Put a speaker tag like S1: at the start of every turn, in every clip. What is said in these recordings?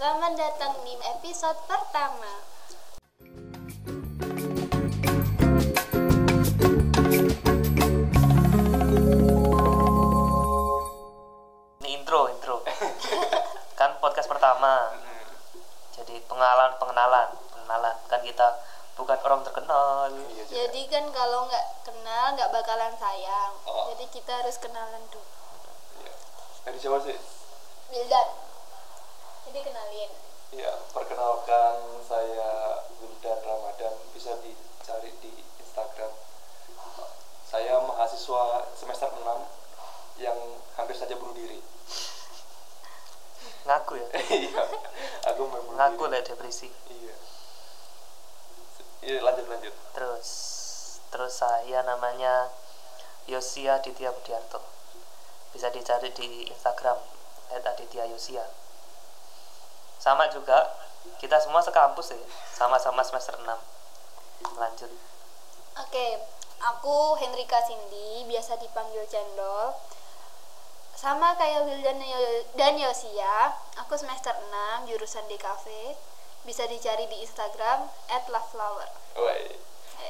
S1: datang di episode pertama.
S2: Ini intro, intro. kan podcast pertama. Jadi pengenalan, pengenalan, pengenalan. Kan kita bukan orang terkenal.
S3: Iya juga.
S1: Jadi kan kalau nggak kenal nggak bakalan sayang.
S3: Oh.
S1: Jadi kita harus kenalan dulu.
S3: Iya. Dari siapa sih?
S1: Wildan. Jadi kenalin.
S3: Ya, perkenalkan saya Wildan Ramadan bisa dicari di Instagram. Saya mahasiswa semester 6 yang hampir saja bunuh diri.
S2: Ngaku ya.
S3: Iya. Aku memang bunuh
S2: Ngaku
S3: diri.
S2: lah depresi.
S3: Iya. Iya, lanjut lanjut.
S2: Terus terus saya namanya Yosia Ditya Budiarto. Bisa dicari di Instagram @aditya_yosia. Sama juga kita semua sekampus ya, sama-sama semester 6. Lanjut.
S1: Oke, aku Hendrika Cindy, biasa dipanggil Cendol. Sama kayak Wildan dan Yosia, aku semester 6 jurusan DKV. Bisa dicari di Instagram Eh, @loveflower.
S3: Woi.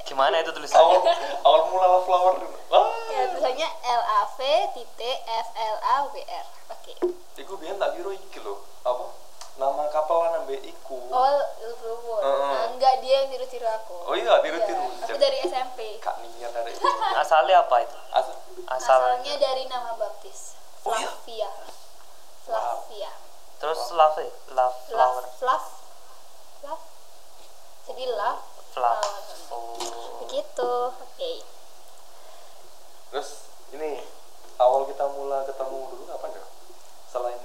S2: Gimana itu
S3: Awal
S2: tulisannya?
S3: awal mula flower. Wah.
S1: Ya, tulisannya L A V titik F L A W R. Oke.
S3: Iku biyen tak kira iki lho. Apa? Nama kapelan ambek iku.
S1: Oh, lu berubur.
S3: Heeh.
S1: Nah, enggak dia yang tiru-tiru aku.
S3: Oh iya, tiru-tiru.
S1: Iya, Aku dari SMP.
S3: Kak niat dari
S2: Asalnya apa itu?
S3: Asal.
S2: Asal
S1: Asalnya dari nama baptis.
S3: Oh iya.
S1: Flavia.
S3: Wow.
S1: Flavia.
S2: terus love ya? love flower
S1: Love, love, love. Jadi love.
S2: flower.
S1: flower.
S2: Oh.
S1: Begitu. Gitu. Oke.
S3: Terus ini awal kita mula ketemu dulu kapan ya? Selain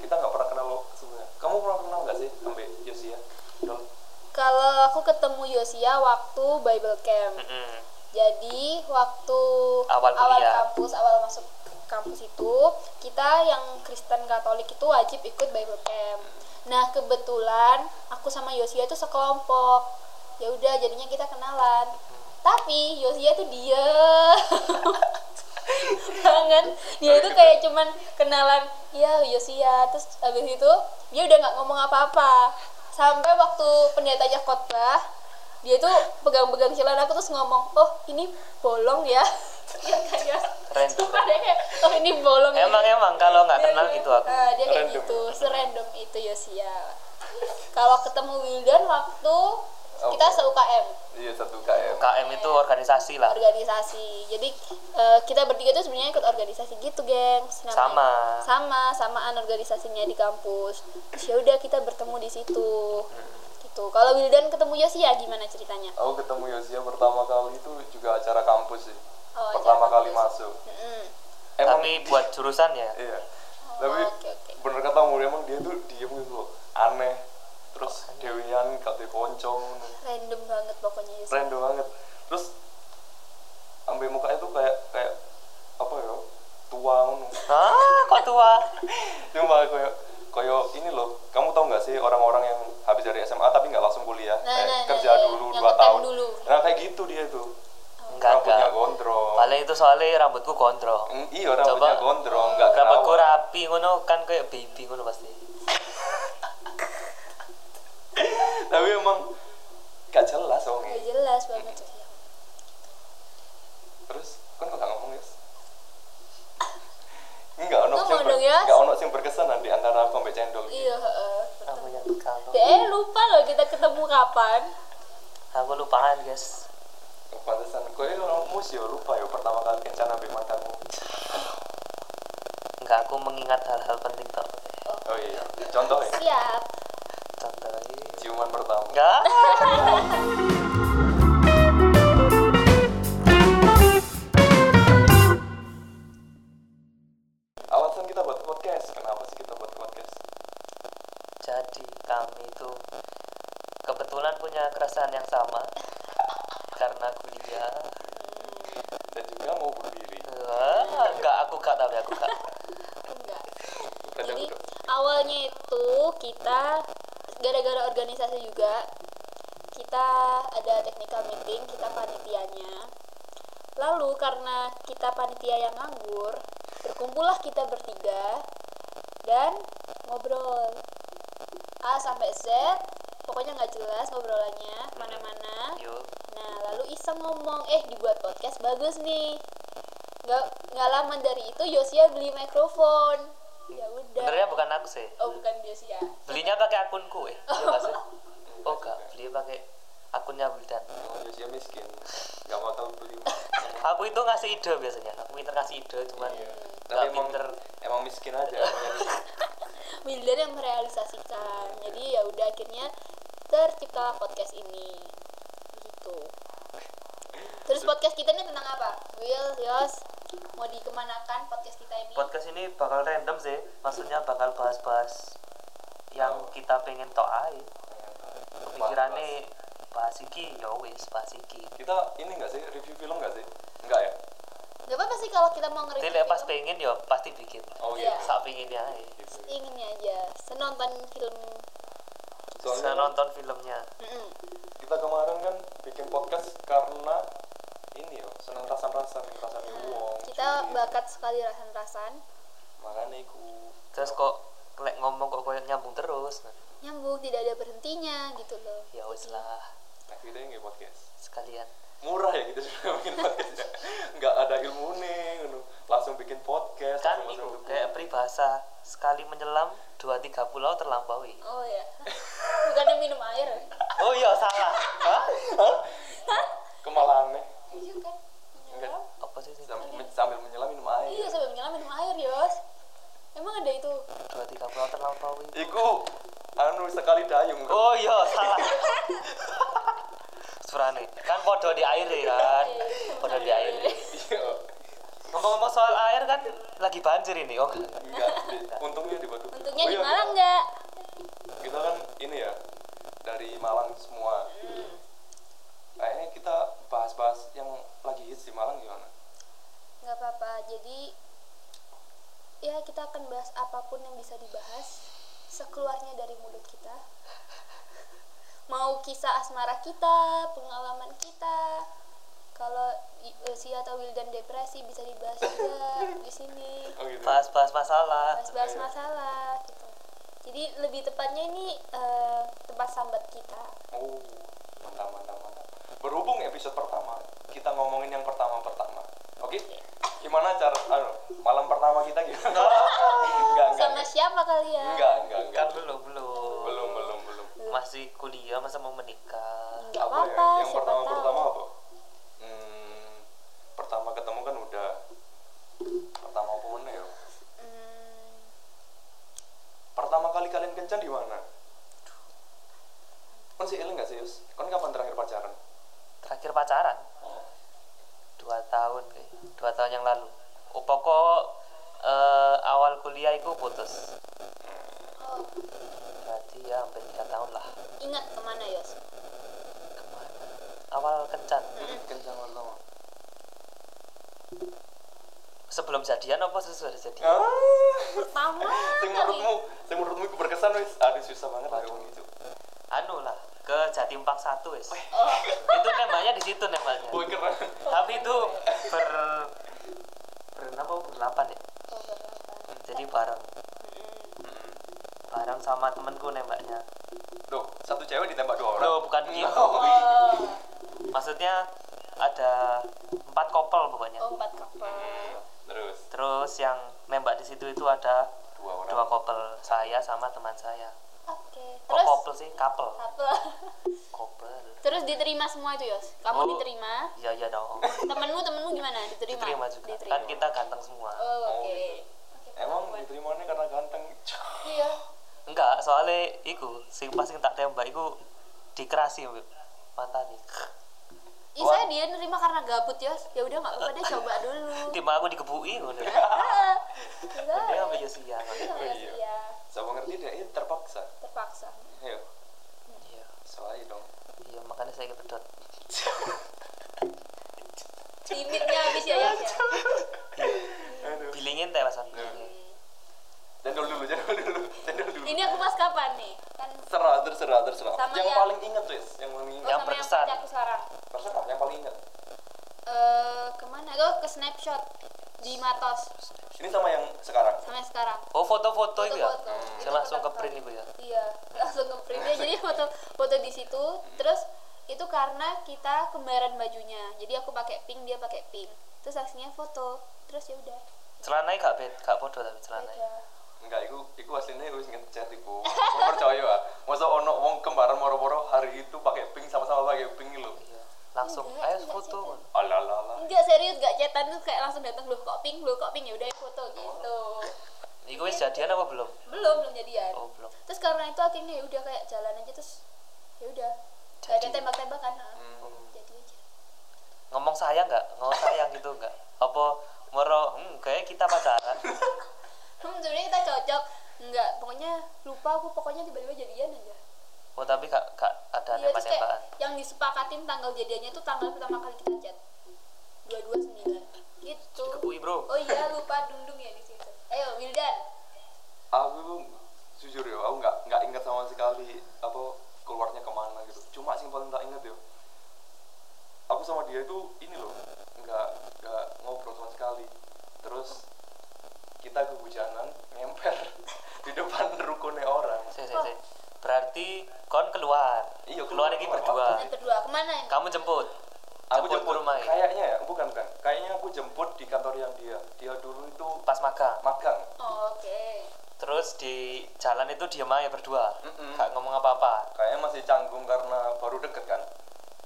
S3: kita nggak pernah kenal lo sebenarnya. Kamu pernah kenal nggak sih sampai Yosia? Dol.
S1: Kalau aku ketemu Yosia waktu Bible camp.
S2: Mm-mm.
S1: Jadi waktu
S2: Hmm. Awal kuliah.
S1: kampus, awal masuk kampus itu kita yang Kristen Katolik itu wajib ikut Bible camp. Nah kebetulan aku sama Yosia itu sekelompok. Ya udah jadinya kita kenalan.
S2: Hmm.
S1: Tapi Yosia tuh diem banget. kan? Dia itu kayak cuman kenalan, ya Yosia. Terus abis itu dia udah nggak ngomong apa-apa. Sampai waktu pendetanya khotbah, dia tuh pegang-pegang celana aku terus ngomong, oh ini bolong ya. Iya kan ya.
S2: Keren.
S1: Sumpah dia kayak, oh ini bolong. ya."
S2: Emang emang kalau nggak
S1: Dia
S2: kenal
S1: kayak-
S2: gitu aku.
S1: Ah, dia kayak
S3: Random.
S1: gitu, serandom itu Yosia. Kalau ketemu Wildan waktu
S2: Oh.
S1: kita se-UKM
S3: Iya satu KM.
S2: KM itu organisasi lah.
S1: organisasi. Jadi eh, kita bertiga tuh sebenarnya ikut organisasi gitu, gengs. Namanya-
S2: Sama.
S1: Sama, samaan organisasinya di kampus. Terus ya udah kita bertemu di situ. Gitu. Kalau Wildan ketemu Yosia gimana ceritanya?
S3: Aku ketemu Yosia pertama kali itu juga acara kampus sih.
S1: Oh, acara
S3: pertama kali
S1: kampus.
S3: masuk.
S1: Mm-mm.
S2: Tapi buat jurusan ya.
S3: Iya.
S1: Oh,
S3: Tapi
S1: oke, oke.
S3: bener kata kamu, emang dia tuh diem gitu loh. Aneh. Terus dewian kate koncong.
S1: Random banget pokoknya Yosia.
S3: random banget terus ambil mukanya tuh kayak kayak apa ya tuang
S2: Ah, kok tua?
S3: cuma kayak kayak ini loh kamu tau nggak sih orang-orang yang habis dari SMA tapi nggak langsung kuliah
S1: Nah,
S3: Kayak
S1: nah, nah,
S3: kerja
S1: iya.
S3: dulu
S1: Yang
S3: dua
S1: ngetem
S3: tahun
S1: dulu.
S3: nah kayak gitu dia tuh
S2: Enggak
S3: rambutnya
S2: enggak.
S3: gondrong
S2: Paling itu soalnya rambutku gondrong.
S3: Mm, iya rambutnya
S2: Coba.
S3: gondrong nggak
S2: Rambutku
S3: kerawan.
S2: rapi ngono kan kayak baby ngono pasti.
S3: tapi emang gak jelas ya. orangnya
S1: Gak jelas banget Yosia.
S3: terus kan kok gak ngomong ya Enggak ono
S1: Ngomong
S3: sing ber-
S1: dong, ya. Yas.
S3: nggak ono sing berkesan nanti antara aku sampai cendol.
S1: Iya, heeh.
S2: Aku yang kalau
S1: Eh, lupa loh kita ketemu kapan.
S2: aku lupaan guys.
S3: Pantesan, kau ini orang musio lupa ya pertama kali kencan ambil mantanmu
S2: Enggak aku mengingat hal-hal penting toh.
S3: Oh iya, contoh ya,
S1: Siap.
S2: Contohnya
S3: ciuman pertama
S2: Enggak.
S3: Alasan kita buat podcast, kenapa sih kita buat podcast?
S2: Jadi kami itu kebetulan punya keresahan yang sama karena kuliah.
S3: Dan juga mau bunuh diri
S2: Wah, enggak aku enggak tapi aku enggak.
S1: Enggak.
S3: Kadang
S1: Jadi
S3: udah
S1: awalnya itu kita gara-gara organisasi juga kita ada technical meeting kita panitianya. Lalu karena kita panitia yang nganggur, berkumpullah kita bertiga dan ngobrol. A sampai Z pokoknya nggak jelas ngobrolannya mana-mana
S2: Yuk.
S1: nah lalu iseng ngomong eh dibuat podcast bagus nih nggak nggak lama dari itu Yosia beli mikrofon ya udah
S2: Sebenarnya bukan aku sih.
S1: oh bukan Yosia
S2: Belinya pakai akunku eh. Iya nggak sih? Oh enggak, belinya pakai akunnya Wildan.
S3: Oh, Yosia miskin, nggak mau tahu beli.
S2: Aku itu ngasih ide biasanya. Aku pinter ngasih ide cuman
S3: Iya.
S2: nggak
S3: Tapi emang,
S2: pinter.
S3: emang miskin aja.
S1: Wildan yang merealisasikan jadi ya udah akhirnya terciptalah podcast ini gitu terus podcast kita ini tentang apa Will Yos mau dikemanakan podcast kita ini
S2: Podcast ini bakal random sih. Maksudnya bakal bahas-bahas yang kita pengen tau aja. Pikirannya bahas iki, ya wis bahas iki.
S3: kita ini nggak sih review film nggak sih? Nggak ya?
S1: nggak apa-apa sih kalau kita mau ngereview gitu.
S2: Jadi pas
S1: film,
S2: pengen ya pasti bikin.
S3: Oh
S1: Iya.
S3: iya.
S2: Sak pengennya aja.
S3: Gitu.
S1: inginnya aja senonton film
S2: Saya
S3: Soalnya
S2: nonton filmnya.
S1: Mm-mm.
S3: kita kemarin kan bikin podcast karena ini ya seneng rasan-rasan, rasan
S2: Hmm.
S3: uang.
S1: kita bakat sekali rasan-rasan
S3: Makanya iku.
S2: Terus kok lek ngomong kok koyo nyambung terus. Nah,
S1: nyambung tidak ada berhentinya gitu loh
S2: Ya wis lah
S3: Nah, kita yang nggak podcast.
S2: sekalian.
S3: murah ya gitu sebenarnya bikin podcast ya. nggak ada ilmu nih gitu. langsung bikin podcast
S2: kan
S3: langsung
S2: itu
S3: masuk ke
S2: kayak
S3: buku.
S2: peribahasa sekali menyelam dua tiga pulau terlampaui
S1: oh ya bukannya minum air ya?
S2: oh iya salah Hah?
S3: kemalahan nih
S1: iya kan
S3: Enggak.
S1: menyelam
S2: apa sih ini?
S3: sambil, sambil menyelam minum air
S1: iya sampai menyelam minum air yos emang ada itu
S2: dua tiga pulau terlampaui
S3: iku anu sekali dayung
S2: oh iya salah surane kan podo di air ya kan podo di air
S3: iya
S2: ngomong-ngomong soal air kan lagi banjir ini oh
S3: enggak di- untungnya di Batu
S1: untungnya di
S3: iya,
S1: Malang nggak
S3: kita, kita kan ini ya dari Malang semua kayaknya kita bahas-bahas yang lagi hits di Malang gimana
S1: nggak apa-apa jadi ya kita akan bahas apapun yang bisa dibahas sekeluarnya dari mulut kita mau kisah asmara kita pengalaman kita kalau I- Usi atau Wildan depresi bisa dibahas juga di sini
S3: oh gitu
S2: bahas-bahas masalah
S1: bahas-bahas masalah gitu jadi lebih tepatnya ini eh, tempat sambat kita
S3: oh mantap mantap mantap berhubung episode pertama kita ngomongin yang pertama pertama oke
S1: Iya.
S3: gimana cara anu, malam pertama kita gimana enggak enggak
S1: sama siapa kalian
S3: enggak enggak enggak
S2: kan belum belum
S3: belum belum belum
S2: masih kuliah masa mau menikah
S1: nggak
S3: Apa ya?
S1: apa-apa
S3: yang
S1: siapa
S3: pertama
S1: tahu
S3: pertama apa hmm, pertama ketemu kan udah pertama apa mana ya
S1: Hmm,
S3: pertama kali kalian kencan di mana kan sih eling nggak sih Yus? Kan kapan terakhir pacaran?
S2: terakhir pacaran
S1: Oh,
S2: dua tahun kayak dua tahun yang lalu oh, pokok eh, awal kuliah itu putus
S1: oh,
S2: berarti ya hampir tiga tahun lah
S1: ingat kemana ya, Yos
S2: kemana awal kencan
S3: Kencan pertama.
S2: sebelum jadian apa sesudah jadian
S3: Ah.
S1: pertama
S3: sing
S1: kali
S3: menurutmu sing menurutmu itu berkesan wis aduh susah banget lah ngomong gitu
S2: anu lah ke Jatim Park satu wes
S1: Oh,
S2: itu nembaknya di situ nembaknya
S3: boy keren
S2: tapi itu ber berenam apa berdelapan ya
S1: oh, berapa?
S2: jadi bareng
S1: Mm-mm.
S2: bareng sama temenku nembaknya
S3: loh satu cewek ditembak dua orang Iya.
S2: Loh, bukan gitu.
S1: Oh,
S2: maksudnya ada empat kopel pokoknya
S1: oh, empat kapal.
S3: terus
S2: terus yang nembak di situ itu ada
S3: dua orang
S2: dua couple saya sama teman saya
S1: Oke,
S2: kok
S1: terus
S2: couple sih couple
S1: apa?
S2: couple
S1: Terus diterima semua itu Yos. Kamu
S2: Oh.
S1: diterima.
S2: iya iya dong
S1: Temenmu temenmu gimana? Diterima.
S2: diterima juga
S1: Diterima.
S2: kan kita ganteng semua
S1: Oh, oke.
S3: emang diterimanya karena ganteng
S1: Iya.
S2: enggak soalnya iku sing pas sing tak tembak iku dikerasi Mbak. mata nih
S1: Ih, saya dia nerima karena gabut Yos. Ya udah nggak apa-apa deh coba dulu.
S2: tim aku digebui ngono dia
S1: Ah, enggak.
S2: sampai Yosia
S1: Sama
S3: Iya.
S1: Yosia.
S3: siapa ngerti dia ini terpaksa
S1: ya. Terpaksa.
S3: ayo
S2: iya
S3: soalnya dong
S2: iya makanya saya kepedot
S1: Limitnya habis ya Yos. ya?
S3: aduh
S2: bilingin teh alasan bilingin
S3: cendol dulu cendol dulu cendol dulu
S1: Ini aku mas kapan nih? Kan
S3: serah terserah terserah
S1: Sama
S3: yang
S1: yang-
S3: paling inget wis yang
S1: oh,
S3: paling inget
S1: sama
S2: Yang
S1: yang
S2: berkesan.
S1: pacar aku sekarang.
S3: terserah yang paling inget
S1: eh kemana? Oh, ke snapshot di Matos.
S3: Ini sama yang sekarang.
S1: sama yang sekarang
S2: Oh foto-foto itu ya?
S1: Foto-foto.
S3: Hmm.
S1: Itu
S2: Saya langsung ke
S1: foto-foto.
S2: print itu ya?
S1: iya langsung ke print ya jadi foto foto di situ terus itu karena kita kembaran bajunya jadi aku pakai pink dia pakai pink terus aslinya foto terus ya udah
S2: Celananya gak bed, gak bodoh tapi celananya.
S1: beda
S3: Enggak, iku iku aslinya iku sing ngechat iku. Aku percaya ah. Masa ono wong kembaran moro-moro hari itu pakai pink sama-sama pakai pink lho.
S2: Iya. Langsung,
S1: Enggak,
S2: ayo
S1: enggak
S2: foto.
S1: sih,
S3: Alalala.
S1: enggak serius enggak cetan terus kayak langsung datang lu kok pink lu kok pink ya udah ya
S2: Oh.
S1: foto gitu
S2: Iku wis jadian apa belum?
S1: belum belum jadian
S2: Oh belum.
S1: terus karena itu akhirnya ya udah kayak jalan aja terus ya udah gak ada
S2: Jadi.
S1: tembak-tembakan ah.
S3: Hmm.
S1: jadi aja
S2: Ngomong sayang gak? Ngomong sayang gitu gak? Apa moro, hmm, kayak kita pacaran.
S1: hmm, sebenarnya kita cocok enggak pokoknya lupa aku pokoknya tiba-tiba jadian aja
S2: Oh tapi gak, gak ada
S1: Iya, terus kayak
S2: nembak-nembakan.
S1: yang disepakatin tanggal jadiannya itu tanggal pertama kali kita chat 229 gitu
S2: Kebui bro.
S1: oh iya lupa dundung ya di situ ayo Wildan
S3: Aku iku jujur ya, aku nggak nggak ingat sama sekali apa keluarnya kemana gitu. Cuma sing paling tak ingat ya, aku sama dia itu ini loh, nggak nggak ngobrol sama sekali. Terus kita kehujanan ngemper di depan rukunnya orang.
S2: Se, se, se.
S1: Oh.
S2: Berarti kon keluar.
S3: Iya,
S2: keluar
S3: keluar.
S2: lagi berdua.
S1: yang kedua kemana yang
S2: Ah. Kamu jemput.
S3: Aku
S2: Jemput ke
S3: jemput,
S2: rumah ya?
S3: kayaknya ya, bukan bukan. Kayaknya aku jemput di kantor yang dia. Dia dulu itu
S2: Pas magang.
S3: magang.
S1: oh, oke
S2: Terus di jalan itu diem aja berdua.
S3: Mm-mm.
S2: Gak ngomong apa-apa.
S3: Kayaknya masih canggung karena baru deket kan.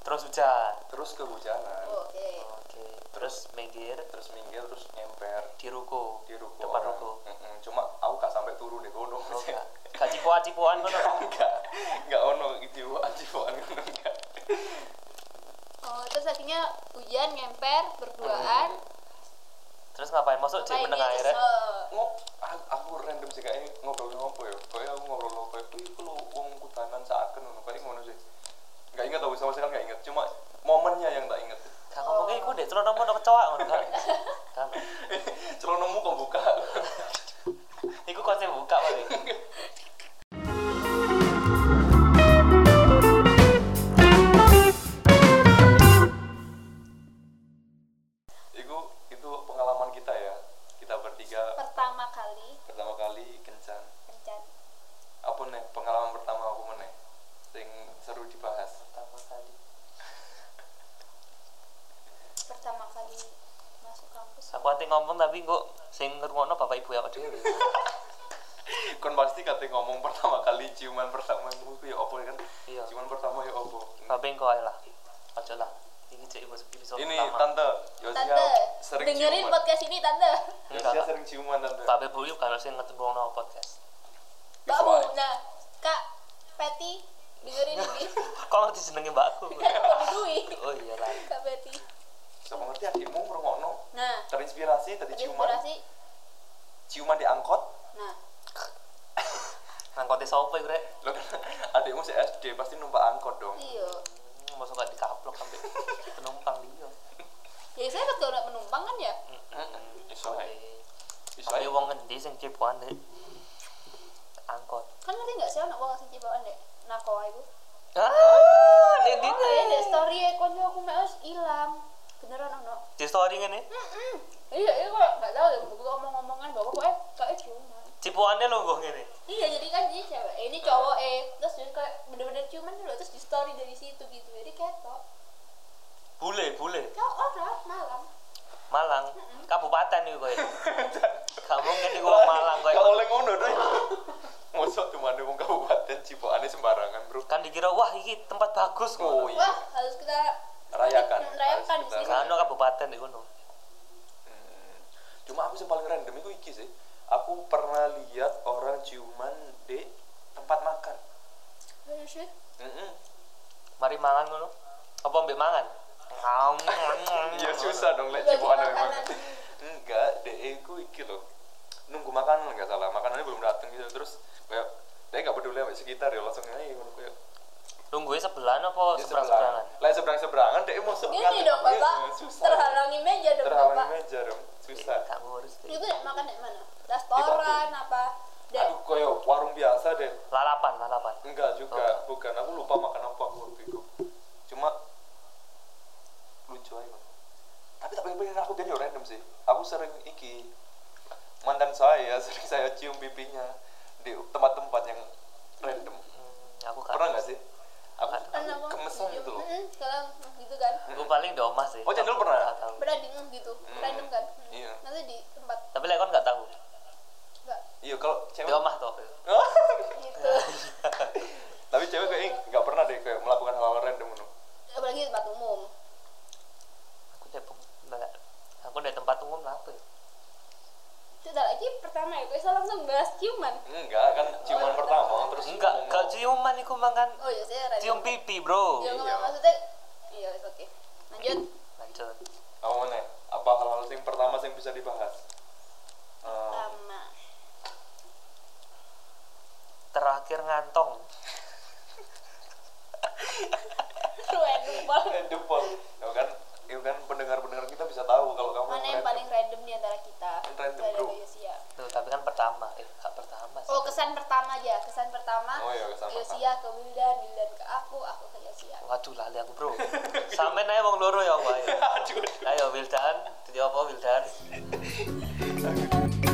S2: Terus hujan.
S3: Terus kehujanan,
S1: oh, oke
S2: Oke. Terus minggir
S3: terus minggir, terus ngemper.
S2: di ruko.
S3: di ruko
S2: Depan
S3: orang.
S2: ruko.
S3: Mm-mm, cuma aku gak sampai turun di kono
S2: Oh, gak. Gak cipuan-cipuan kono.
S3: enggak enggak ono jiwa jiwaan kono enggak
S2: Ah.
S1: oh terus akhirnya hujan ngemper berduaan
S2: Terus ngapain? Hmm. Masuk cek
S1: Ngapain
S2: meneng
S1: gitu,
S2: air.
S1: so.
S3: ngop aku, aku random sih kayaknya ngobrol ngopo ya kayak aku ngobrol ngopo ya "Wih, iku lho wong kutanan seakan ngono kayak ngono sih enggak ingat aku sama sekali enggak ingat cuma momennya yang tak ingat
S2: Gak ngomongnya "Eh, iku dek celana mono kecoa ngono kan. Kan.
S3: celonamu kok buka
S2: Iku konsep buka paling.
S3: itu itu pengalaman kita ya kita bertiga
S1: pertama kali
S3: pertama kali kencan
S1: kencan
S3: apa nih pengalaman pertama aku meneh sing seru dibahas
S2: Pertama kali.
S1: pertama kali masuk kampus
S2: Aku hati ngomong tapi kok sing ngrungokno bapak ibu ya aku dhewe.
S3: kon pasti kate ngomong pertama kali ciuman pertama itu ya opo kan
S2: Iya.
S3: ciuman pertama ya opo
S2: Bapak engko ae lah. Ojo lah. Iki cek episode
S3: ini
S2: pertama.
S3: tante Yosia
S1: tante
S3: sering
S1: dengerin
S3: ciuman
S1: podcast ini tante
S3: Yosia
S2: Enggak.
S3: sering ciuman tante
S2: Bapak ibu yuk kalau sing ngrungokno podcast.
S1: mbakmu nah kak Peti dengerin ini
S2: Kok ngerti jenenge mbakku?
S1: Kak Dwi
S2: Oh iya lah.
S1: kak Peti
S3: sama ngerti adikmu merungokno
S1: nah
S3: terinspirasi tadi
S1: ada
S3: ciuman
S1: inspirasi
S3: ciuman di angkot
S1: nah
S2: Nangkote sopo iku rek?
S3: lo kan adikmu si SD pasti numpak angkot dong
S1: iyo
S2: Hmm, Masuk gak dikaplok sampai penumpang dia.
S1: jadi saya kan udah penumpang kan ya
S3: iso ae iso
S2: Tapi
S3: ae
S2: wong ngendi sing cipuan dek? Angkot.
S1: kan nanti nggak sih anak bawa kasih cibawaan dek nakoa itu
S2: Ah, nek
S1: oh ya dek story ya konco aku mau hilang beneran ono
S2: Di story ngene.
S1: Mm-mm. iya iya kok nggak tahu ya buku omong-omongan bawa kok eh kayak ciuman
S2: Cipuannya lungguh ngene.
S1: iya jadi kan ini cewek eh, ini cowok eh terus jadi kayak bener-bener ciuman dulu terus di story dari situ gitu jadi ketok
S2: Bule, bule.
S1: cowok orang malam
S2: Malang, kabupaten iki kowe. Gak mungkin iku
S3: Lah,
S2: wong Malang kowe.
S3: gak oleh ngono deh mosok cuma ada wong kabupaten cipokane sembarangan bro
S2: Kan dikira wah iki tempat bagus kok.
S3: oh iya
S1: wah harus kita
S3: Rayakan.
S1: rayakan
S3: Harus
S1: di
S3: kita
S1: sini
S2: Gak ono kabupaten iku no.
S3: Hmm. Cuma aku yang paling random itu iki sih. Aku pernah lihat orang ciuman di tempat makan.
S1: Harus Iya, sih.
S3: Mm-mm.
S2: Mari mangan ngono. Apa mbek mangan? Ngaum,
S3: Iya susah dong lek
S1: Bagi
S3: ciuman
S1: makanan.
S3: memang. Enggak, deh aku iki loh. Nunggu makanan nggak salah, makanannya belum datang gitu terus kayak dia nggak peduli sama sekitar ya langsung aja ngono kayak
S2: Nungguin sebelah apa
S3: dia
S2: seberang-seberangan?
S3: Lek seberang seberangan deh mau
S1: Gini dong bapak, terhalangi meja dong
S3: iya, Terhalangi
S1: bapak.
S3: meja dong, susah.
S2: Gak ngurus deh.
S1: Itu nek makan nek mana? Restoran apa?
S2: Iya.
S1: Dek,
S3: Aku kayak warung biasa deh,
S2: Lalapan, lalapan.
S3: Enggak juga,
S2: Oh.
S3: bukan. Aku lupa makan apa aku waktu itu. Cuma lucu aja. Bang. Tapi tak pengen aku jadi random sih. Aku sering iki mantan saya sering saya cium pipinya di tempat-tempat yang random
S2: Hmm, aku kan.
S3: pernah nggak sih aku
S2: Pernah.
S1: Kan aku
S3: kemesan
S1: video-
S3: gitu loh
S1: Mm-mm, kalau mm, gitu kan
S2: Aku paling di omah sih.
S3: Oh, Cendol pernah?
S2: Nggak tahu.
S1: pernah di mm, gitu
S3: Hmm.
S1: random kan Mm.
S3: Iya.
S1: nanti di tempat
S2: Tapi lekon nggak tahu.
S1: enggak
S3: iya kalau cewek
S2: Di omah tuh.
S1: gitu
S3: tapi cewek kayaknya nggak pernah deh kayak melakukan hal-hal random loh
S1: apalagi di tempat umum
S2: Aku di nggak. Aku di tempat umum lah apa ya?
S1: sudah lagi pertama ya bisa langsung bahas ciuman
S3: enggak kan ciuman pertama terus
S2: Enggak,
S3: ngomong-
S2: kalau ciuman itu makan
S1: oh ya saya random
S2: cium pipi, bro.
S1: Ya,
S3: Iya.
S1: maksudnya iya oke lanjut
S2: Lanjut.
S3: apa mana apa hal-hal yang pertama yang bisa dibahas Eh,
S1: pertama
S2: Terakhir ngantong.
S1: random banget
S3: random Pol. ya kan ya kan pendengar-pendengar kita bisa tahu kalau kamu
S1: mana yang
S3: random.
S1: paling random di antara kita
S3: Random,
S1: Dari
S3: bro.
S1: Yosia.
S2: Tuh, tapi kan pertama. Eh, nggak pertama sih.
S1: oh kesan pertama aja kesan pertama
S3: Oh, iya, kesan
S1: Yosia ke Wildan Wildan ke aku aku ke ya. Yosia
S2: Waduh, lali aku, bro. Sampai naik wong loro ya, Pak.
S3: aduh
S2: Ayo, Wildan. Jadi apa, Wildan?